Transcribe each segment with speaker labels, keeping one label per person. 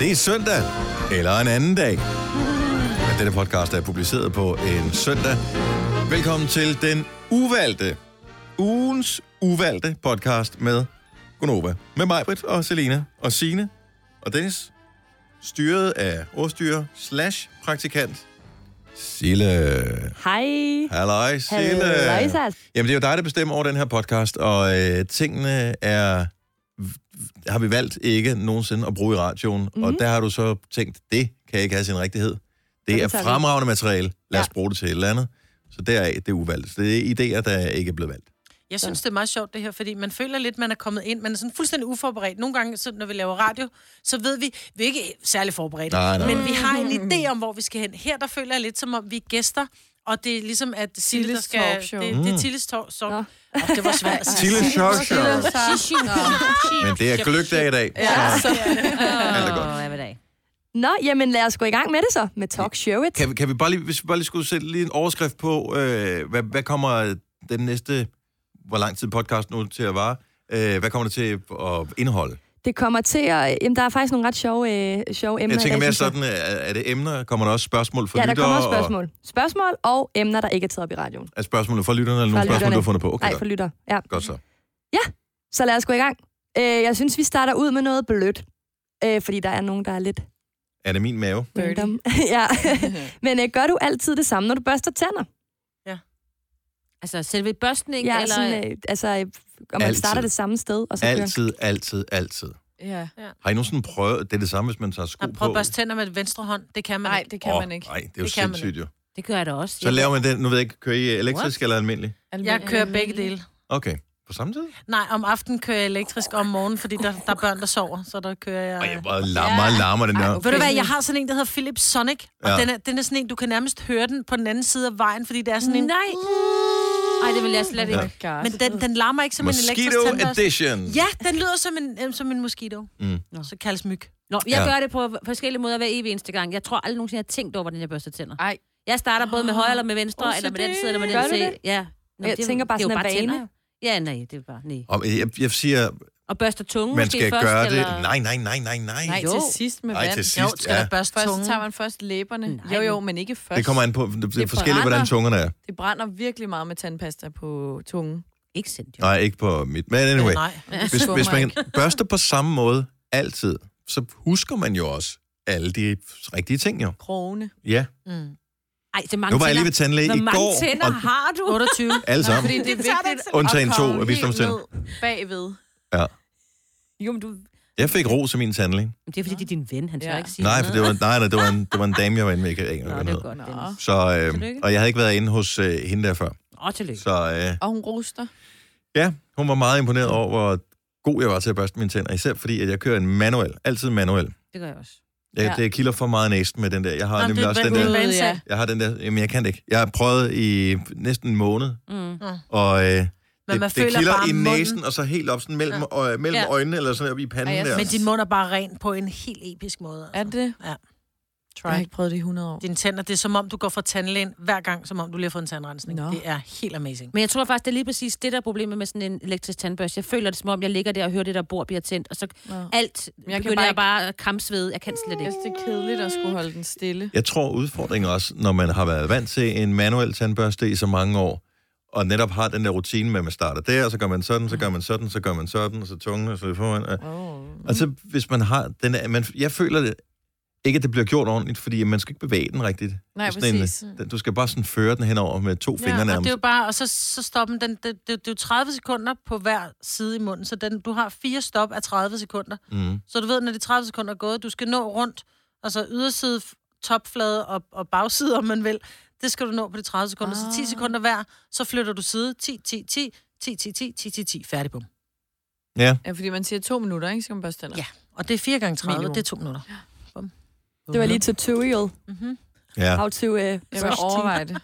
Speaker 1: det er søndag, eller en anden dag. Men denne podcast er publiceret på en søndag. Velkommen til den uvalgte, ugens uvalgte podcast med Gonova. Med Majbrit og Selina og Sine og Dennis. Styret af ordstyrer slash praktikant Sille.
Speaker 2: Hej.
Speaker 1: Halløj, Sille.
Speaker 2: Halløj, Sas.
Speaker 1: Jamen, det er jo dig, der bestemmer over den her podcast, og øh, tingene er har vi valgt ikke nogensinde at bruge i radioen, mm. og der har du så tænkt, det kan ikke have sin rigtighed. Det er
Speaker 2: tager vi.
Speaker 1: fremragende materiale. Lad os
Speaker 2: Ja.
Speaker 1: bruge det til et eller andet. Så deraf, det er uvalgt. Så Det er idéer, der ikke er blevet valgt.
Speaker 3: Jeg synes, det er meget sjovt det her, fordi man føler lidt, man er kommet ind, man er sådan fuldstændig uforberedt. Nogle gange, så når vi laver radio, så ved vi, vi er ikke særlig forberedte,
Speaker 1: Nej, nej.
Speaker 3: men vi har en idé om, hvor vi skal hen. Her der føler jeg lidt, som om vi er gæster, og det er ligesom, at Sille, der
Speaker 2: Silles
Speaker 3: skal...
Speaker 2: talkshow.
Speaker 3: Det, det er Tilles talkshow.
Speaker 2: Nå.
Speaker 3: Nå. Det var svært. at sige.
Speaker 1: Mm. Tilles talkshow. Men det er
Speaker 3: Ja.
Speaker 1: gløgdag i dag,
Speaker 2: Ja.
Speaker 1: så alt er godt.
Speaker 2: Nå, jamen lad os gå i gang med det så, med Talk Show It.
Speaker 1: Kan, vi- kan vi bare lige, hvis vi bare lige skulle sætte lige en overskrift på, øh, hvad, hvad kommer den næste, hvor lang tid podcast nu til at vare? Øh, hvad kommer det til at indeholde?
Speaker 2: Det kommer til at... Jamen, der er faktisk nogle ret sjove, øh, sjove emner.
Speaker 1: Jeg
Speaker 2: i
Speaker 1: tænker
Speaker 2: dag,
Speaker 1: mere
Speaker 2: synes jeg.
Speaker 1: sådan, er, er det emner? Kommer der også spørgsmål fra
Speaker 2: Ja, der
Speaker 1: lyttere?
Speaker 2: kommer også
Speaker 1: og-
Speaker 2: spørgsmål. Spørgsmål og emner, der ikke er taget op i radioen.
Speaker 1: Er spørgsmålet fra lytterne, eller
Speaker 2: Fra
Speaker 1: nogle spørgsmål, du
Speaker 2: lytterne.
Speaker 1: har fundet på? Okay,
Speaker 2: Nej, for lytter. Ja.
Speaker 1: godt så.
Speaker 2: Så lad os gå i gang. Øh, jeg synes, vi starter ud med noget blødt. Øh, fordi der er nogen, der er lidt
Speaker 1: Er det min mave?
Speaker 3: Dirty.
Speaker 2: random. ja. Men øh, gør du altid det samme, når du børster tænder?
Speaker 4: Altså selve børstningen,
Speaker 2: Ja,
Speaker 4: eller...
Speaker 2: sådan, øh, altså, øh, om man
Speaker 1: Altid.
Speaker 2: starter det samme sted, og så kører.
Speaker 1: Altid, altid, altid.
Speaker 5: Ja.
Speaker 1: Har I nogensinde prøvet, det er det samme, hvis man tager sko
Speaker 3: Jeg
Speaker 1: på?
Speaker 3: prøver at børste tænder med venstre hånd. Det kan man
Speaker 5: Nej,
Speaker 3: ikke.
Speaker 5: det kan
Speaker 1: Åh,
Speaker 5: man ikke.
Speaker 1: Nej, det er jo
Speaker 3: Det kan man
Speaker 1: sindssygt jo.
Speaker 4: Det gør jeg da også.
Speaker 1: Så laver man den, nu ved jeg ikke, kører I elektrisk What? eller almindelig?
Speaker 3: Jeg kører begge dele.
Speaker 1: Okay, på samme tid?
Speaker 3: Nej, om aftenen kører jeg elektrisk, og om morgenen, fordi der, der er børn, der sover, så der kører jeg...
Speaker 1: Ej, jeg var larmer, meget larmer den der.
Speaker 3: Ved du hvad, jeg har sådan en, der hedder Philips Sonic, og
Speaker 1: Ja.
Speaker 3: ja. den, er, den er sådan en, du kan nærmest høre den på den anden side af vejen, fordi det er sådan en...
Speaker 4: Nej. Ej, det vil jeg slet ikke.
Speaker 5: Oh God.
Speaker 3: Men den, den larmer ikke som en
Speaker 1: Mosquito
Speaker 3: elektrisk tandbørste.
Speaker 1: edition.
Speaker 3: Ja, den lyder som en, øh, som en mosquito. Mm. Så kaldes myg.
Speaker 4: Nå, jeg
Speaker 1: Ja.
Speaker 4: gør det på forskellige måder hver evig eneste gang. Jeg tror aldrig nogensinde, jeg har tænkt over, hvordan jeg børster tænder.
Speaker 5: Ej. Ah. Oh,
Speaker 4: Jeg starter både med højre eller med venstre,
Speaker 3: OCD.
Speaker 4: eller med den side, eller med
Speaker 2: Gør
Speaker 4: den
Speaker 2: du
Speaker 4: side.
Speaker 2: det?
Speaker 4: Ja. Nå,
Speaker 2: Jeg
Speaker 4: det er jo-
Speaker 2: tænker bare
Speaker 4: det er jo
Speaker 2: sådan en
Speaker 4: tænder,
Speaker 2: vane.
Speaker 4: jo. Ja, nej, det er bare... Nej.
Speaker 1: Om, jeg, jeg siger,
Speaker 4: Og børster tungen
Speaker 1: man
Speaker 4: måske
Speaker 1: skal
Speaker 4: først,
Speaker 1: gøre det.
Speaker 4: eller...
Speaker 1: Nej, nej, nej, nej, nej.
Speaker 5: Nej,
Speaker 4: Jo.
Speaker 5: til sidst med
Speaker 1: Ej,
Speaker 5: vand.
Speaker 1: til
Speaker 3: Jo,
Speaker 1: sidst,
Speaker 3: skal
Speaker 1: ja.
Speaker 3: der børste
Speaker 5: Først
Speaker 3: tungen.
Speaker 5: tager man først læberne.
Speaker 4: Nej.
Speaker 5: Jo, jo, men ikke først.
Speaker 1: Det kommer an på, det, det er
Speaker 5: Det
Speaker 1: forskelligt, hvordan
Speaker 5: brænder.
Speaker 1: tungerne er.
Speaker 5: Det brænder virkelig meget med tandpasta på tungen.
Speaker 4: Ikke sendt, jo.
Speaker 1: Nej, ikke på mit. Men anyway,
Speaker 3: Nej.
Speaker 1: hvis,
Speaker 5: skummer
Speaker 1: hvis man børster på samme måde altid, så husker man jo også alle de rigtige ting, jo.
Speaker 5: Krone.
Speaker 1: Ja.
Speaker 3: Mm.
Speaker 4: Ej, så mange
Speaker 1: Nu var jeg lige ved
Speaker 4: tænder.
Speaker 1: tandlæge i
Speaker 4: Hvor mange
Speaker 1: går,
Speaker 4: tænder
Speaker 1: og
Speaker 4: har du?
Speaker 3: 28.
Speaker 1: alle sammen.
Speaker 5: Fordi det er vigtigt
Speaker 1: Undtagen
Speaker 5: at
Speaker 1: to
Speaker 5: komme
Speaker 1: af visdomstænder.
Speaker 5: helt ned bagved.
Speaker 4: Jo, men du...
Speaker 1: Jeg fik ros af min tandlæge.
Speaker 4: Det er fordi, det er din ven, han tør
Speaker 5: Ja.
Speaker 4: ikke sige
Speaker 1: Nej,
Speaker 4: noget.
Speaker 1: for det var, nej, nej, det var, en, det var en dame, jeg var inde med. Jeg kan ikke
Speaker 4: Nå,
Speaker 1: engang,
Speaker 4: det
Speaker 1: hvad
Speaker 4: er
Speaker 1: hun
Speaker 4: godt,
Speaker 5: Nå.
Speaker 4: Dennis.
Speaker 1: hedder. Så, øh,
Speaker 4: Tillykke.
Speaker 1: og jeg havde ikke været inde hos øh, hende der før.
Speaker 4: Åh, tillykke.
Speaker 1: Så øh,
Speaker 5: Og hun ruster.
Speaker 1: ja, hun var meget imponeret over, hvor god jeg var til at børste mine tænder. Især fordi, at jeg kører en manuel. Altid manuel.
Speaker 4: Det gør jeg også.
Speaker 1: Jeg, ja.
Speaker 5: Ja.
Speaker 1: Det kilder for meget næsten med den der. Jeg har
Speaker 3: Nå,
Speaker 1: nemlig
Speaker 3: det er
Speaker 1: også den
Speaker 3: vanvittigt.
Speaker 1: der.
Speaker 3: Ude,
Speaker 5: ja.
Speaker 1: Jeg har den der. Jamen, jeg kan det ikke. Jeg har prøvet i næsten en måned.
Speaker 4: Mm.
Speaker 1: Og øh,
Speaker 3: Men
Speaker 1: det,
Speaker 3: man
Speaker 1: det
Speaker 3: føler
Speaker 1: kilder
Speaker 3: bare
Speaker 1: i
Speaker 3: munden.
Speaker 1: næsen, altså. og så helt op sådan mellem, øh, mellem
Speaker 3: Ja.
Speaker 1: øjnene, eller sådan op i panden
Speaker 5: Ej, jeg
Speaker 1: der.
Speaker 3: Men din mund er bare ren på en helt episk måde.
Speaker 5: Er
Speaker 3: Altså.
Speaker 5: det?
Speaker 3: Ja.
Speaker 5: Jeg har ikke prøvet det i 100 år.
Speaker 3: Dine tænder, det er som om, du går fra tandlægen hver gang, som om du lige har fået en tandrensning.
Speaker 5: Nå.
Speaker 3: Det er helt amazing.
Speaker 4: Men jeg tror faktisk, det er lige præcis det, der er problemet med sådan en elektrisk tandbørste. Jeg føler det, som om jeg ligger der og hører det der bord bliver tændt, og så
Speaker 5: Nå.
Speaker 4: alt
Speaker 5: jeg kan
Speaker 4: begynder
Speaker 5: bare
Speaker 4: jeg bare at kramsvede. Jeg kan slet
Speaker 5: Jeg
Speaker 4: ikke.
Speaker 5: synes, det er kedeligt at skulle holde den stille.
Speaker 1: Jeg tror udfordringen også, når man har været vant til en manuel tandbørste i så mange år, og netop har den der rutine med, at man starter der, og så gør man sådan, så gør man sådan, så gør man sådan, og så tungen, og så lidt foran. Og,
Speaker 5: Oh.
Speaker 1: og så Mm. Altså, hvis man har den der, man, jeg føler det, ikke, at det bliver gjort ordentligt, fordi man skal ikke bevæge den rigtigt.
Speaker 5: Nej,
Speaker 1: Det er sådan en- øh,
Speaker 5: præcis.
Speaker 1: den- Du skal bare sådan føre den henover med to fingre
Speaker 3: Mm. og
Speaker 1: nærmest.
Speaker 3: det er jo bare, og så, så stopper den, det, det, det, er jo 30 sekunder på hver side i munden, så den, du har fire stop af 30 sekunder.
Speaker 1: Mm.
Speaker 3: Så du ved, når de 30 sekunder er gået, du skal nå rundt, altså yderside, f- topflade og, og bagside, om man vil. Det skal du nå på de 30 sekunder. Ah. Så 10 sekunder hver, så flytter du side. 10, 10, 10, 10, 10, 10, 10, 10, 10. Færdig, bum.
Speaker 1: Ja,
Speaker 5: Ja, fordi man siger to minutter, ikke? Skal man børste tænder.
Speaker 3: Ja. Og det er 4 gange 30,
Speaker 5: Minimum.
Speaker 3: det er 2 minutter.
Speaker 2: Det var lige tutorial.
Speaker 1: ja.
Speaker 2: How to uh,
Speaker 5: Jeg vil overveje det.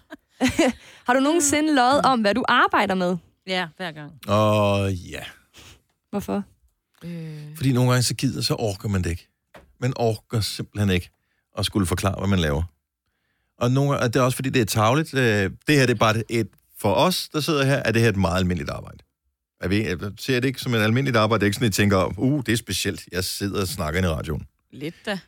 Speaker 2: Har du nogensinde løjet om, hvad du arbejder med?
Speaker 4: Ja, hver gang.
Speaker 1: Og ja.
Speaker 2: Hvorfor?
Speaker 5: Øh,
Speaker 1: Fordi nogle gange så gider, så orker man det ikke. Man orker simpelthen ikke at skulle forklare, hvad man laver. Og, nogle gange, og det er også fordi, det er tavligt. Øh, Det her det er bare et, for os, der sidder her, er det her et meget almindeligt arbejde. øh, Er vi, jeg ser det ikke som et almindeligt arbejde. Det er ikke sådan, at I tænker, uh, det er specielt. Jeg sidder og snakker ind i radioen.
Speaker 5: Lidt da.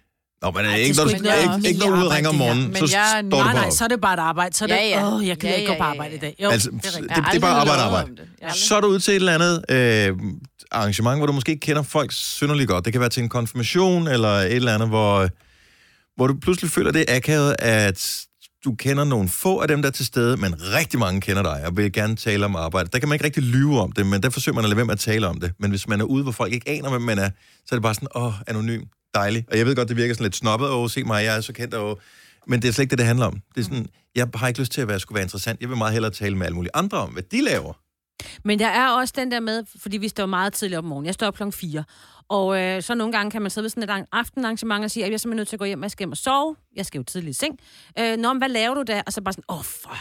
Speaker 1: Nå, men det er
Speaker 3: det
Speaker 1: ikke, når
Speaker 3: skulle
Speaker 1: du,
Speaker 3: ikke være
Speaker 1: ikke,
Speaker 3: også.
Speaker 1: ikke når du
Speaker 5: Jeg
Speaker 1: ringer om
Speaker 5: arbejder
Speaker 1: morgenen,
Speaker 5: her,
Speaker 1: så
Speaker 5: men jeg
Speaker 1: står
Speaker 5: er-
Speaker 1: du
Speaker 3: Nej,
Speaker 1: bare
Speaker 3: nej,
Speaker 1: op.
Speaker 3: så er det bare et arbejde. Så er det,
Speaker 5: Ja, ja.
Speaker 3: åh, jeg gider
Speaker 5: Ja,
Speaker 3: ikke gå
Speaker 5: ja,
Speaker 3: på
Speaker 5: ja,
Speaker 3: arbejde i
Speaker 5: ja.
Speaker 3: dag. Jo,
Speaker 1: Altså,
Speaker 3: det er rigtigt.
Speaker 1: det er bare arbejde, arbejde.
Speaker 5: Så...
Speaker 1: Så er du ude til et eller andet øh, arrangement, hvor du måske ikke kender folk synderligt godt. Det kan være til en konfirmation eller et eller andet, hvor, hvor du pludselig føler det er akavet, at du kender nogle få af dem, der er til stede, men rigtig mange kender dig og vil gerne tale om arbejde. Der kan man ikke rigtig lyve om det, men der forsøger man at lade være med at tale om det. Men hvis man er ude, hvor folk ikke aner, hvem man er, så er det bare sådan, åh, anonym, dejlig. Og jeg ved godt, det virker sådan lidt snobbet, åh, se mig, jeg er så kendt, og men det er slet ikke det, det handler om. Det er sådan, jeg har ikke lyst til at være, skulle være interessant. Jeg vil meget hellere tale med alle mulige andre om, hvad de laver.
Speaker 4: Men der er også den der med, fordi vi står meget tidligt op om morgenen. Jeg står op klokken 4. Og øh, så nogle gange kan man sidde ved sådan et lang- aftenarrangement og sige, at jeg er simpelthen nødt til at gå hjem, jeg skal hjem og sove. Jeg skal jo tidligt i seng. Øh, Nå, men hvad laver du der? Og så bare sådan, åh, oh, fuck.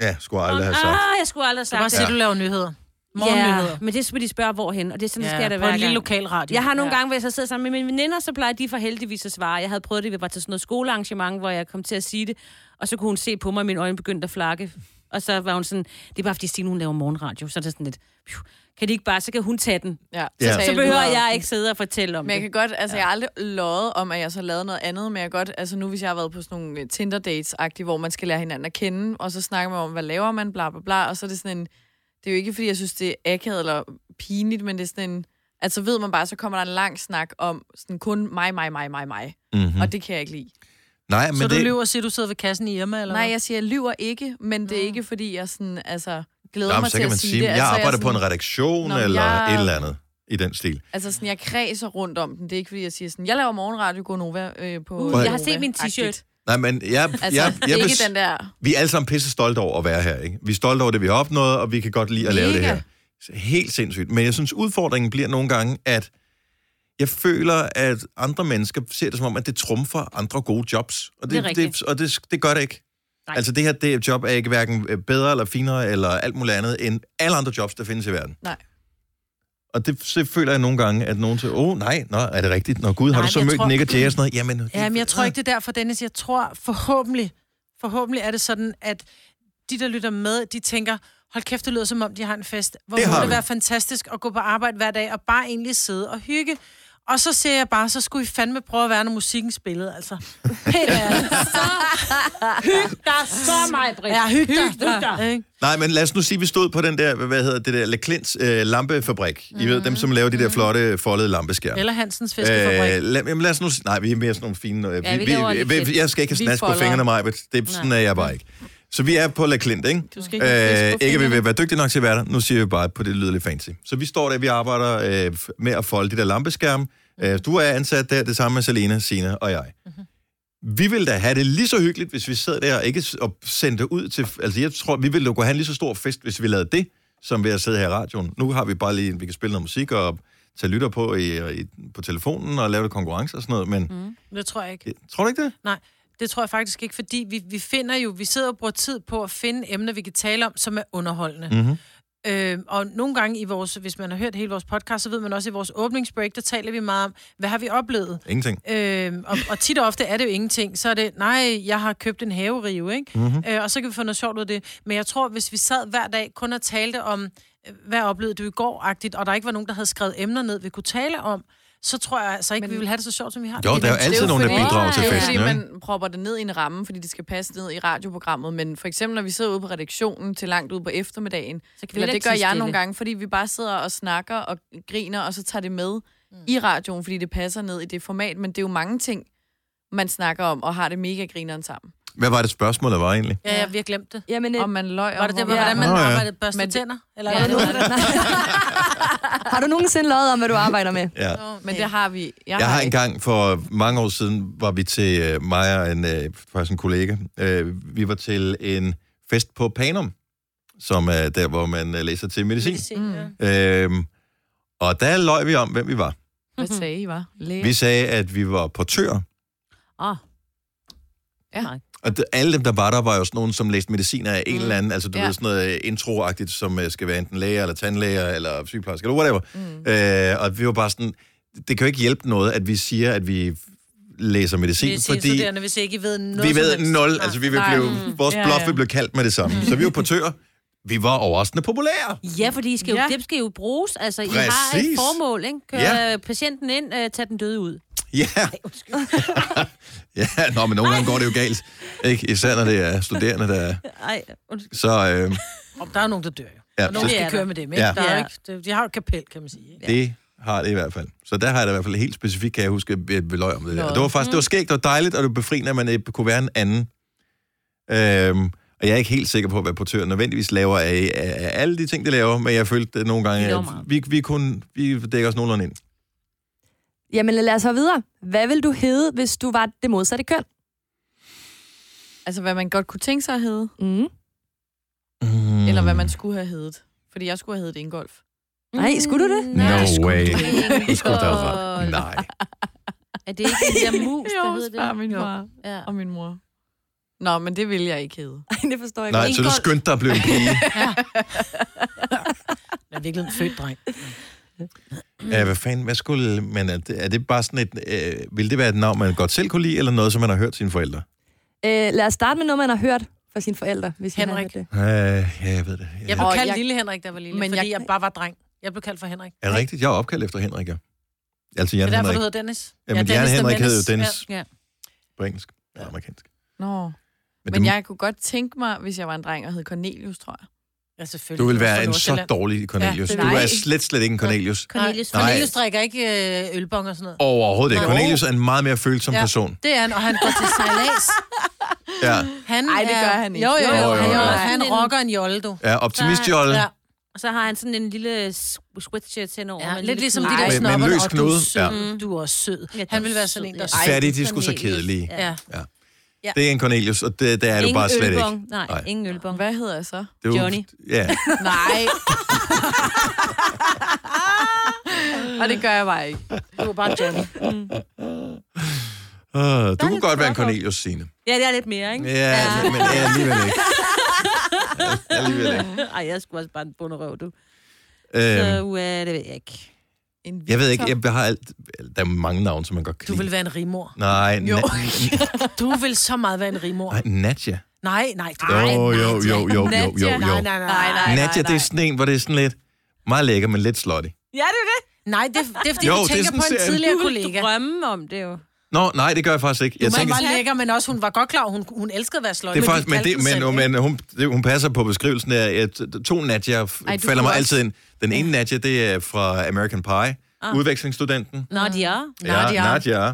Speaker 1: Ja, skulle jeg aldrig have sagt.
Speaker 4: Ah, jeg skulle aldrig have
Speaker 3: Det er bare
Speaker 4: sagt
Speaker 3: at se,
Speaker 4: det.
Speaker 3: du laver nyheder.
Speaker 4: Ja,
Speaker 3: Morgennyheder.
Speaker 4: men det skulle de spørge, hvorhen. Og det er sådan, ja,
Speaker 3: Ja,
Speaker 4: sker det
Speaker 3: på
Speaker 4: hver
Speaker 3: en lille
Speaker 4: gang.
Speaker 3: lokal radio.
Speaker 4: Jeg har nogle ja. gange, hvor jeg så sidder sammen med mine veninder, så plejer de for heldigvis at svare. Jeg havde prøvet det, vi var til sådan noget skolearrangement, hvor jeg kom til at sige det, og så kunne hun se på mig, og mine øjne begyndte at flakke. Og så var hun sådan, det er bare fordi Stine, hun laver morgenradio, så er det sådan lidt, "Phew, kan de ikke bare, så kan hun tage den.
Speaker 5: Ja,
Speaker 1: Ja.
Speaker 5: taler
Speaker 4: Så
Speaker 5: du
Speaker 4: behøver
Speaker 5: om
Speaker 4: jeg
Speaker 5: den.
Speaker 4: ikke sidde og fortælle om
Speaker 5: Men jeg kan
Speaker 4: det.
Speaker 5: godt, altså jeg har aldrig løjet om, at jeg så har lavet noget andet, men jeg kan godt, altså nu hvis jeg har været på sådan nogle øh, Tinder-dates-agtige, hvor man skal lære hinanden at kende, og så snakker man om, hvad laver man, bla bla bla, og så er det sådan en, det er jo ikke fordi, jeg synes, det er akavet eller pinligt, men det er sådan en, altså ved man bare, så kommer der en lang snak om sådan kun mig, mig, mig, mig, mig,
Speaker 1: Mm-hmm.
Speaker 5: mm. og det kan jeg ikke lide.
Speaker 1: Nej, men
Speaker 3: Så du
Speaker 1: det,
Speaker 3: lyver og siger, du sidder ved kassen i Irma, eller
Speaker 5: Nej,
Speaker 3: hvad?
Speaker 5: jeg siger, jeg lyver ikke, men det er ikke fordi, jeg sådan, altså glæder
Speaker 1: Mm. Nå, men så
Speaker 5: mig til
Speaker 1: kan
Speaker 5: at
Speaker 1: man
Speaker 5: sige
Speaker 1: sige,
Speaker 5: det.
Speaker 1: jeg
Speaker 5: altså,
Speaker 1: arbejder
Speaker 5: sådan,
Speaker 1: på en redaktion
Speaker 5: Nå, men
Speaker 1: eller
Speaker 5: jeg-
Speaker 1: et eller andet i den stil.
Speaker 5: Altså sådan, jeg kredser rundt om den. Det er ikke, fordi jeg siger sådan, jeg laver morgenradio Gonova øh, på...
Speaker 4: Uh,
Speaker 1: Prøv at-
Speaker 4: jeg har set min t-shirt.
Speaker 1: Nej, men jeg,
Speaker 5: Altså,
Speaker 1: jeg,
Speaker 5: det
Speaker 1: jeg,
Speaker 5: er
Speaker 1: jeg
Speaker 5: ikke den der...
Speaker 1: vi er alle sammen pisse stolte over at være her, ikke? Vi er stolte over det, vi har opnået, og vi kan godt lide at lave det
Speaker 5: Mega.
Speaker 1: her. Helt sindssygt. Men jeg synes, udfordringen bliver nogle gange, at jeg føler, at andre mennesker ser det som om, at det trumfer andre gode jobs. Og
Speaker 4: Det er
Speaker 1: det,
Speaker 4: rigtigt.
Speaker 1: det, og det, det gør det ikke. Nej.
Speaker 4: Nej.
Speaker 1: Altså det her det job er ikke hverken øh, bedre eller finere eller alt muligt andet end alle andre jobs, der findes i verden.
Speaker 5: Nej.
Speaker 1: Og det så føler jeg nogle gange, at nogen siger, åh oh, nej, nå, er det rigtigt? Nå gud, har
Speaker 3: Nej,
Speaker 1: du så
Speaker 3: men jeg
Speaker 1: mødt
Speaker 3: tror-
Speaker 1: Nick og Jay og sådan noget? Jamen, det-
Speaker 3: Ja, men jeg tror ikke, det er derfor, Dennis. Jeg tror forhåbentlig, forhåbentlig er det sådan, at de, der lytter med, de tænker, hold kæft, det lyder som om, de har en fest. Hvor
Speaker 1: Det
Speaker 3: det
Speaker 1: har
Speaker 3: må det
Speaker 1: vi.
Speaker 3: være fantastisk at gå på arbejde hver dag og bare egentlig sidde og hygge. Og så ser jeg bare, så skulle I fandme prøve at være, når musikken spillede, altså. Helt ærligt.
Speaker 4: Der er så meget, Britt.
Speaker 3: Ja, hyg dig. Hyg
Speaker 4: dig.
Speaker 3: dig.
Speaker 1: Nej, men lad os nu sige, at vi stod på den der, hvad hedder det der, Le Clint's øh, lampefabrik. I ved, dem som laver
Speaker 4: Mm.
Speaker 1: de der flotte foldede lampeskærme.
Speaker 3: Eller Hansens
Speaker 1: Øh,
Speaker 3: fiskefabrik.
Speaker 1: lad, jamen lad os nu... s- Nej, vi er mere sådan nogle fine... Øh,
Speaker 4: Ja, vi laver Le
Speaker 1: vi,
Speaker 4: Clint.
Speaker 1: jeg skal ikke have
Speaker 5: Vi
Speaker 1: snask på
Speaker 5: folder.
Speaker 1: fingrene, mig, det er sådan, er jeg bare ikke. Så vi er på La Clint, ikke?
Speaker 5: Du skal ikke have fisk på
Speaker 1: Øh, ikke, at vi
Speaker 5: fingrene.
Speaker 1: vil være dygtige nok til at være der. Nu siger vi bare, på det lyder lidt fancy. Så vi står der, vi arbejder øh, f- med at folde de der lampeskærme. Øh, du er ansat der, det samme med Selena, Sina og jeg.
Speaker 5: Mhm.
Speaker 1: Vi ville da have det lige så hyggeligt, hvis vi sad der og ikke s- og sendte det ud til... Altså, jeg tror, vi ville da kunne have en lige så stor fest, hvis vi lavede det, som ved at sidde her i radioen. Nu har vi bare lige... Vi kan spille noget musik og tage lytter på i, i, på telefonen og lave lidt konkurrence og sådan noget, men...
Speaker 5: Mhm.
Speaker 1: Mm.
Speaker 3: Det tror jeg ikke.
Speaker 1: Tror du ikke det?
Speaker 3: Nej, det tror jeg faktisk ikke, fordi vi, vi finder jo, vi sidder og bruger tid på at finde emner, vi kan tale om, som er underholdende.
Speaker 1: Mhm.
Speaker 3: Øh, og nogle gange i vores, hvis man har hørt hele vores podcast, så ved man også, i vores åbningsbreak, der taler vi meget om, hvad har vi oplevet?
Speaker 1: Ingenting.
Speaker 3: Øh, og, og tit og ofte er det jo ingenting. Så er det, nej, jeg har købt en haverive, ikke?
Speaker 1: Mhm.
Speaker 3: Mm-hmm. Øh, og så kan vi få noget sjovt ud af det. Men jeg tror, hvis vi sad hver dag kun og talte om, øh, hvad oplevede du i går-agtigt, og der ikke var nogen, der havde skrevet emner ned, vi kunne tale om, så tror jeg altså ikke, Men... vi ville have det så sjovt, som vi har det.
Speaker 1: Jo, der er jo
Speaker 5: Det er
Speaker 1: altid
Speaker 5: jo
Speaker 1: nogen, der
Speaker 5: fordi-
Speaker 1: bidrager til
Speaker 5: Det er jo
Speaker 1: festen,
Speaker 5: fordi,
Speaker 1: jo, ikke?
Speaker 5: man propper det ned i en ramme, fordi det skal passe ned i radioprogrammet. Men for eksempel, når vi sidder ude på redaktionen til langt ude på eftermiddagen,
Speaker 4: Så kan vi
Speaker 5: eller
Speaker 4: heller
Speaker 5: det
Speaker 4: ikke
Speaker 5: gør
Speaker 4: tie
Speaker 5: jeg
Speaker 4: stille.
Speaker 5: nogle gange, fordi vi bare sidder og snakker og griner, og så tager det med i radioen, fordi det passer ned i det format. Men det er jo mange ting, man snakker om, og har det mega grineren sammen.
Speaker 1: Hvad var det spørgsmål, der var egentlig?
Speaker 3: Ja, ja, vi har glemt det.
Speaker 2: Jamen, øh,
Speaker 5: Om man løg
Speaker 3: Var det der,
Speaker 5: hvor
Speaker 3: med, hvordan man
Speaker 1: Nå, ja.
Speaker 3: arbejdede børste
Speaker 5: Men det-
Speaker 3: tænder? Eller
Speaker 5: Ja,
Speaker 3: hvad?
Speaker 5: det var det.
Speaker 2: har du nogensinde løjet øh, om, hvad du arbejder med?
Speaker 1: Ja.
Speaker 5: Men det har vi. Jeg,
Speaker 1: Jeg har
Speaker 5: ikke.
Speaker 1: engang for mange år siden, var vi til øh, mig og en, øh, faktisk en kollega, øh, vi var til en fest på Panum, som er der, hvor man øh, læser til medicin.
Speaker 5: Mm.
Speaker 1: Øh, og der løj vi om, hvem vi var.
Speaker 5: Hvad sagde I, var? Læge.
Speaker 1: Vi sagde, at vi var portører,
Speaker 4: Åh,
Speaker 1: og det, alle dem, der var der, var jo sådan nogen, som læste medicin af en eller anden, altså du ja.
Speaker 5: Ja.
Speaker 1: ved, sådan noget øh, introagtigt, som øh, skal være enten læger, eller tandlæger, eller sygeplejerske, eller whatever. Mm. Øh, og vi var bare sådan, det kan jo ikke hjælpe noget, at vi siger, at vi læser medicin,
Speaker 3: Vi siger
Speaker 1: fordi...
Speaker 3: studerende, hvis ikke I ved noget
Speaker 1: vi
Speaker 3: som
Speaker 1: ved
Speaker 3: helst.
Speaker 1: nul,
Speaker 3: Nej.
Speaker 1: altså vi vil
Speaker 5: Nej.
Speaker 1: blive,
Speaker 5: Mm.
Speaker 1: vores
Speaker 5: Ja,
Speaker 1: bluff
Speaker 5: ja.
Speaker 1: vil blive kaldt med det samme. Så vi var portører, vi var overraskende populære.
Speaker 4: Ja, fordi I skal jo,
Speaker 5: Ja.
Speaker 4: ja. det skal jo bruges. Altså, I har
Speaker 1: Præcis.
Speaker 4: et formål, ikke? Kør
Speaker 1: Ja.
Speaker 4: ja. patienten ind, øh, tag den døde ud.
Speaker 1: Ja. ja, nå, men nogle gange går det jo galt. Ikke? Især når det er studerende, der er.
Speaker 4: Ej, undskyld.
Speaker 1: Så øh,
Speaker 3: Om der er nogen, der dør jo.
Speaker 1: ja,
Speaker 3: Og nogen,
Speaker 1: så,
Speaker 4: Det
Speaker 3: der
Speaker 4: er
Speaker 3: kører
Speaker 4: der.
Speaker 3: med dem, ikke?
Speaker 1: Ja.
Speaker 3: Ja. Der er
Speaker 4: Ja.
Speaker 3: jo ikke, de- de har jo et kapel, kan man sige. Ikke?
Speaker 1: det har det i hvert fald. Så der har jeg da i hvert fald helt specifikt, kan jeg huske, et beløg om det der.
Speaker 5: Nå.
Speaker 1: Det var faktisk, det var skægt og dejligt, og det var befriende, at man øh, kunne være en anden. Øhm, og jeg er ikke helt sikker på, hvad portøren nødvendigvis laver af, af, af alle de ting, de laver, men jeg følte det nogle gange,
Speaker 4: Det var
Speaker 1: at
Speaker 4: meget.
Speaker 1: vi, vi, kunne, vi dækker os nogenlunde ind.
Speaker 2: Jamen lad os høre videre. Hvad vil du hedde, hvis du var det modsatte køn?
Speaker 5: Altså, hvad man godt kunne tænke sig at hedde,
Speaker 2: Mm.
Speaker 1: Mm.
Speaker 5: eller hvad man skulle have heddet. Fordi jeg skulle have heddet Ingolf.
Speaker 2: Nej, skulle du det?
Speaker 4: Mm,
Speaker 1: No
Speaker 4: nej, skulle
Speaker 1: way.
Speaker 4: du ikke.
Speaker 1: Du skulle da ret. Nej.
Speaker 4: Er det ikke den der mus, der
Speaker 5: Jo,
Speaker 4: hedder
Speaker 5: spørg
Speaker 4: det?
Speaker 5: min far
Speaker 4: Ja.
Speaker 5: og min mor. Nå, men det ville jeg ikke hedde.
Speaker 2: Ej, det forstår jeg
Speaker 1: Nej,
Speaker 2: godt.
Speaker 1: så du skyndte dig at blive en pige.
Speaker 3: Jeg er virkelig en født dreng.
Speaker 1: Ja, hvad fanden, hvad skulle... Men er det, er det bare sådan et... Øh, vil det være et navn, man godt selv kunne lide, eller noget, som man har hørt sine forældre?
Speaker 2: Øh, lad os starte med noget, man har hørt fra sine forældre, hvis I har
Speaker 3: Henrik.
Speaker 2: hørt det.
Speaker 1: Øh, ja, jeg ved det.
Speaker 3: Jeg
Speaker 1: Jeg,
Speaker 3: blev
Speaker 5: Og
Speaker 3: kaldt
Speaker 5: jeg-
Speaker 3: Lille Henrik, der var lille,
Speaker 5: Men
Speaker 3: men fordi
Speaker 5: jeg-
Speaker 3: jeg... jeg bare var dreng. Jeg blev kaldt for Henrik.
Speaker 1: er det rigtigt? Jeg er opkaldt efter Henrik, ja. Altså
Speaker 3: Det
Speaker 1: Jan
Speaker 3: er derfor,
Speaker 1: Henrik.
Speaker 3: du hedder Dennis.
Speaker 1: Jamen,
Speaker 3: ja,
Speaker 1: Jan
Speaker 3: Dennis the
Speaker 1: Henrik hed jo
Speaker 3: Menace.
Speaker 1: Dennis
Speaker 4: Ja.
Speaker 1: på engelsk. Ja, amerikansk.
Speaker 5: Nå,
Speaker 1: Men,
Speaker 5: men
Speaker 1: det,
Speaker 5: jeg kunne godt tænke mig, hvis jeg var en dreng og hed Cornelius, tror jeg.
Speaker 3: Ja, selvfølgelig.
Speaker 1: du vil
Speaker 3: Jeg er
Speaker 1: være
Speaker 3: fra
Speaker 1: en så
Speaker 3: Nordsjælland.
Speaker 1: dårlig Cornelius.
Speaker 5: Ja,
Speaker 1: du
Speaker 5: nej.
Speaker 1: er slet, slet ikke en Cornelius.
Speaker 4: Cornelius.
Speaker 1: Nej.
Speaker 3: Nej. Cornelius drikker ikke øh, ølbong og sådan noget.
Speaker 1: Overhovedet ikke.
Speaker 3: Nej.
Speaker 1: Cornelius er en meget mere følsom
Speaker 3: Ja.
Speaker 1: person.
Speaker 3: Det er han, og han går til sejlads.
Speaker 1: Ja,
Speaker 3: Han
Speaker 5: Ej, det
Speaker 3: er-
Speaker 5: gør han ikke.
Speaker 3: Jo,
Speaker 1: Jo,
Speaker 3: jo, jo.
Speaker 1: jo,
Speaker 3: Han,
Speaker 1: jo.
Speaker 3: er- han rocker en jolle, du.
Speaker 1: ja optimistjolle.
Speaker 3: Ja.
Speaker 4: Og så har han sådan en lille s- sweatshirt henover.
Speaker 3: Ja,
Speaker 4: med en
Speaker 3: lidt
Speaker 4: lille
Speaker 3: ligesom de
Speaker 4: knude.
Speaker 3: der
Speaker 1: Med- med en
Speaker 3: snopper,
Speaker 1: løs
Speaker 3: og du
Speaker 1: knude,
Speaker 3: er
Speaker 1: ja.
Speaker 5: Mm.
Speaker 3: sød, du er også sød.
Speaker 4: Ja,
Speaker 3: Han
Speaker 4: du
Speaker 3: vil
Speaker 4: er
Speaker 3: være sådan en,
Speaker 4: sød,
Speaker 3: der
Speaker 4: ja. Ej,
Speaker 1: Fattige,
Speaker 4: det er
Speaker 1: de skulle så
Speaker 4: Cornelius.
Speaker 1: kedelige.
Speaker 4: Ja.
Speaker 3: Ja.
Speaker 1: Det er en Cornelius, og det, det er du
Speaker 4: Ingen
Speaker 1: bare slet ikke.
Speaker 4: ølbong. Nej,
Speaker 1: Nej.
Speaker 4: ingen ølbong.
Speaker 5: Hvad hedder jeg så?
Speaker 1: Det er jo-
Speaker 4: Johnny.
Speaker 1: Ja,
Speaker 5: Nej. og det gør jeg bare ikke.
Speaker 3: Du er bare Johnny.
Speaker 1: Ah, du kunne
Speaker 4: lidt
Speaker 1: godt være en
Speaker 4: flot over.
Speaker 1: Cornelius, Signe.
Speaker 4: Ja, det er lidt mere, ikke?
Speaker 1: Ja, men, men ja, alligevel ikke. Ja, alligevel ikke.
Speaker 4: Ej, jeg skulle også bare en bunderøv, du.
Speaker 1: Øhm,
Speaker 4: Så uh, det ved jeg ikke.
Speaker 5: En
Speaker 1: jeg ved ikke,
Speaker 5: Victor.
Speaker 1: jeg har alt, der er mange navne, som man godt kan
Speaker 3: Du vil
Speaker 1: lide.
Speaker 3: være en rimor.
Speaker 1: Nej,
Speaker 5: Jo.
Speaker 1: na-
Speaker 3: Du vil så meget være en rimor.
Speaker 1: nej, Nadja.
Speaker 3: Nej, nej. det-
Speaker 1: Jo,
Speaker 3: nej,
Speaker 1: jo,
Speaker 3: nej,
Speaker 1: jo,
Speaker 3: det-
Speaker 1: jo, jo, jo, jo,
Speaker 4: Nadja.
Speaker 1: jo.
Speaker 3: Nej, nej, nej.
Speaker 5: Nej, nej, nej,
Speaker 1: Nadja, det
Speaker 5: nej.
Speaker 1: er sådan en, hvor det er sådan lidt meget lækker, men lidt slutty.
Speaker 4: Ja, det er det.
Speaker 3: Nej, det, det er fordi,
Speaker 1: Jo,
Speaker 3: du
Speaker 1: det er
Speaker 3: tænker
Speaker 1: sådan
Speaker 3: på en
Speaker 1: serien.
Speaker 3: tidligere
Speaker 4: Du ville
Speaker 3: kollega.
Speaker 4: drømme om det jo.
Speaker 1: Nå, nej, det gør jeg faktisk ikke. Jeg
Speaker 3: Hun
Speaker 1: tænker,
Speaker 3: var lækker, men også hun var godt klar, hun, hun elskede at være sløj.
Speaker 1: det er faktisk, men,
Speaker 3: de
Speaker 1: det,
Speaker 3: kaldte den
Speaker 1: men,
Speaker 3: selv,
Speaker 1: men hun, det, hun passer på beskrivelsen af, at to Nadja f-
Speaker 5: Ej, du
Speaker 1: falder mig
Speaker 5: kunne
Speaker 1: altid ind. Den ene Nadja, det er fra American Pie, udvekslingsstudenten.
Speaker 4: Nå, de er.
Speaker 1: Ja, Nadja.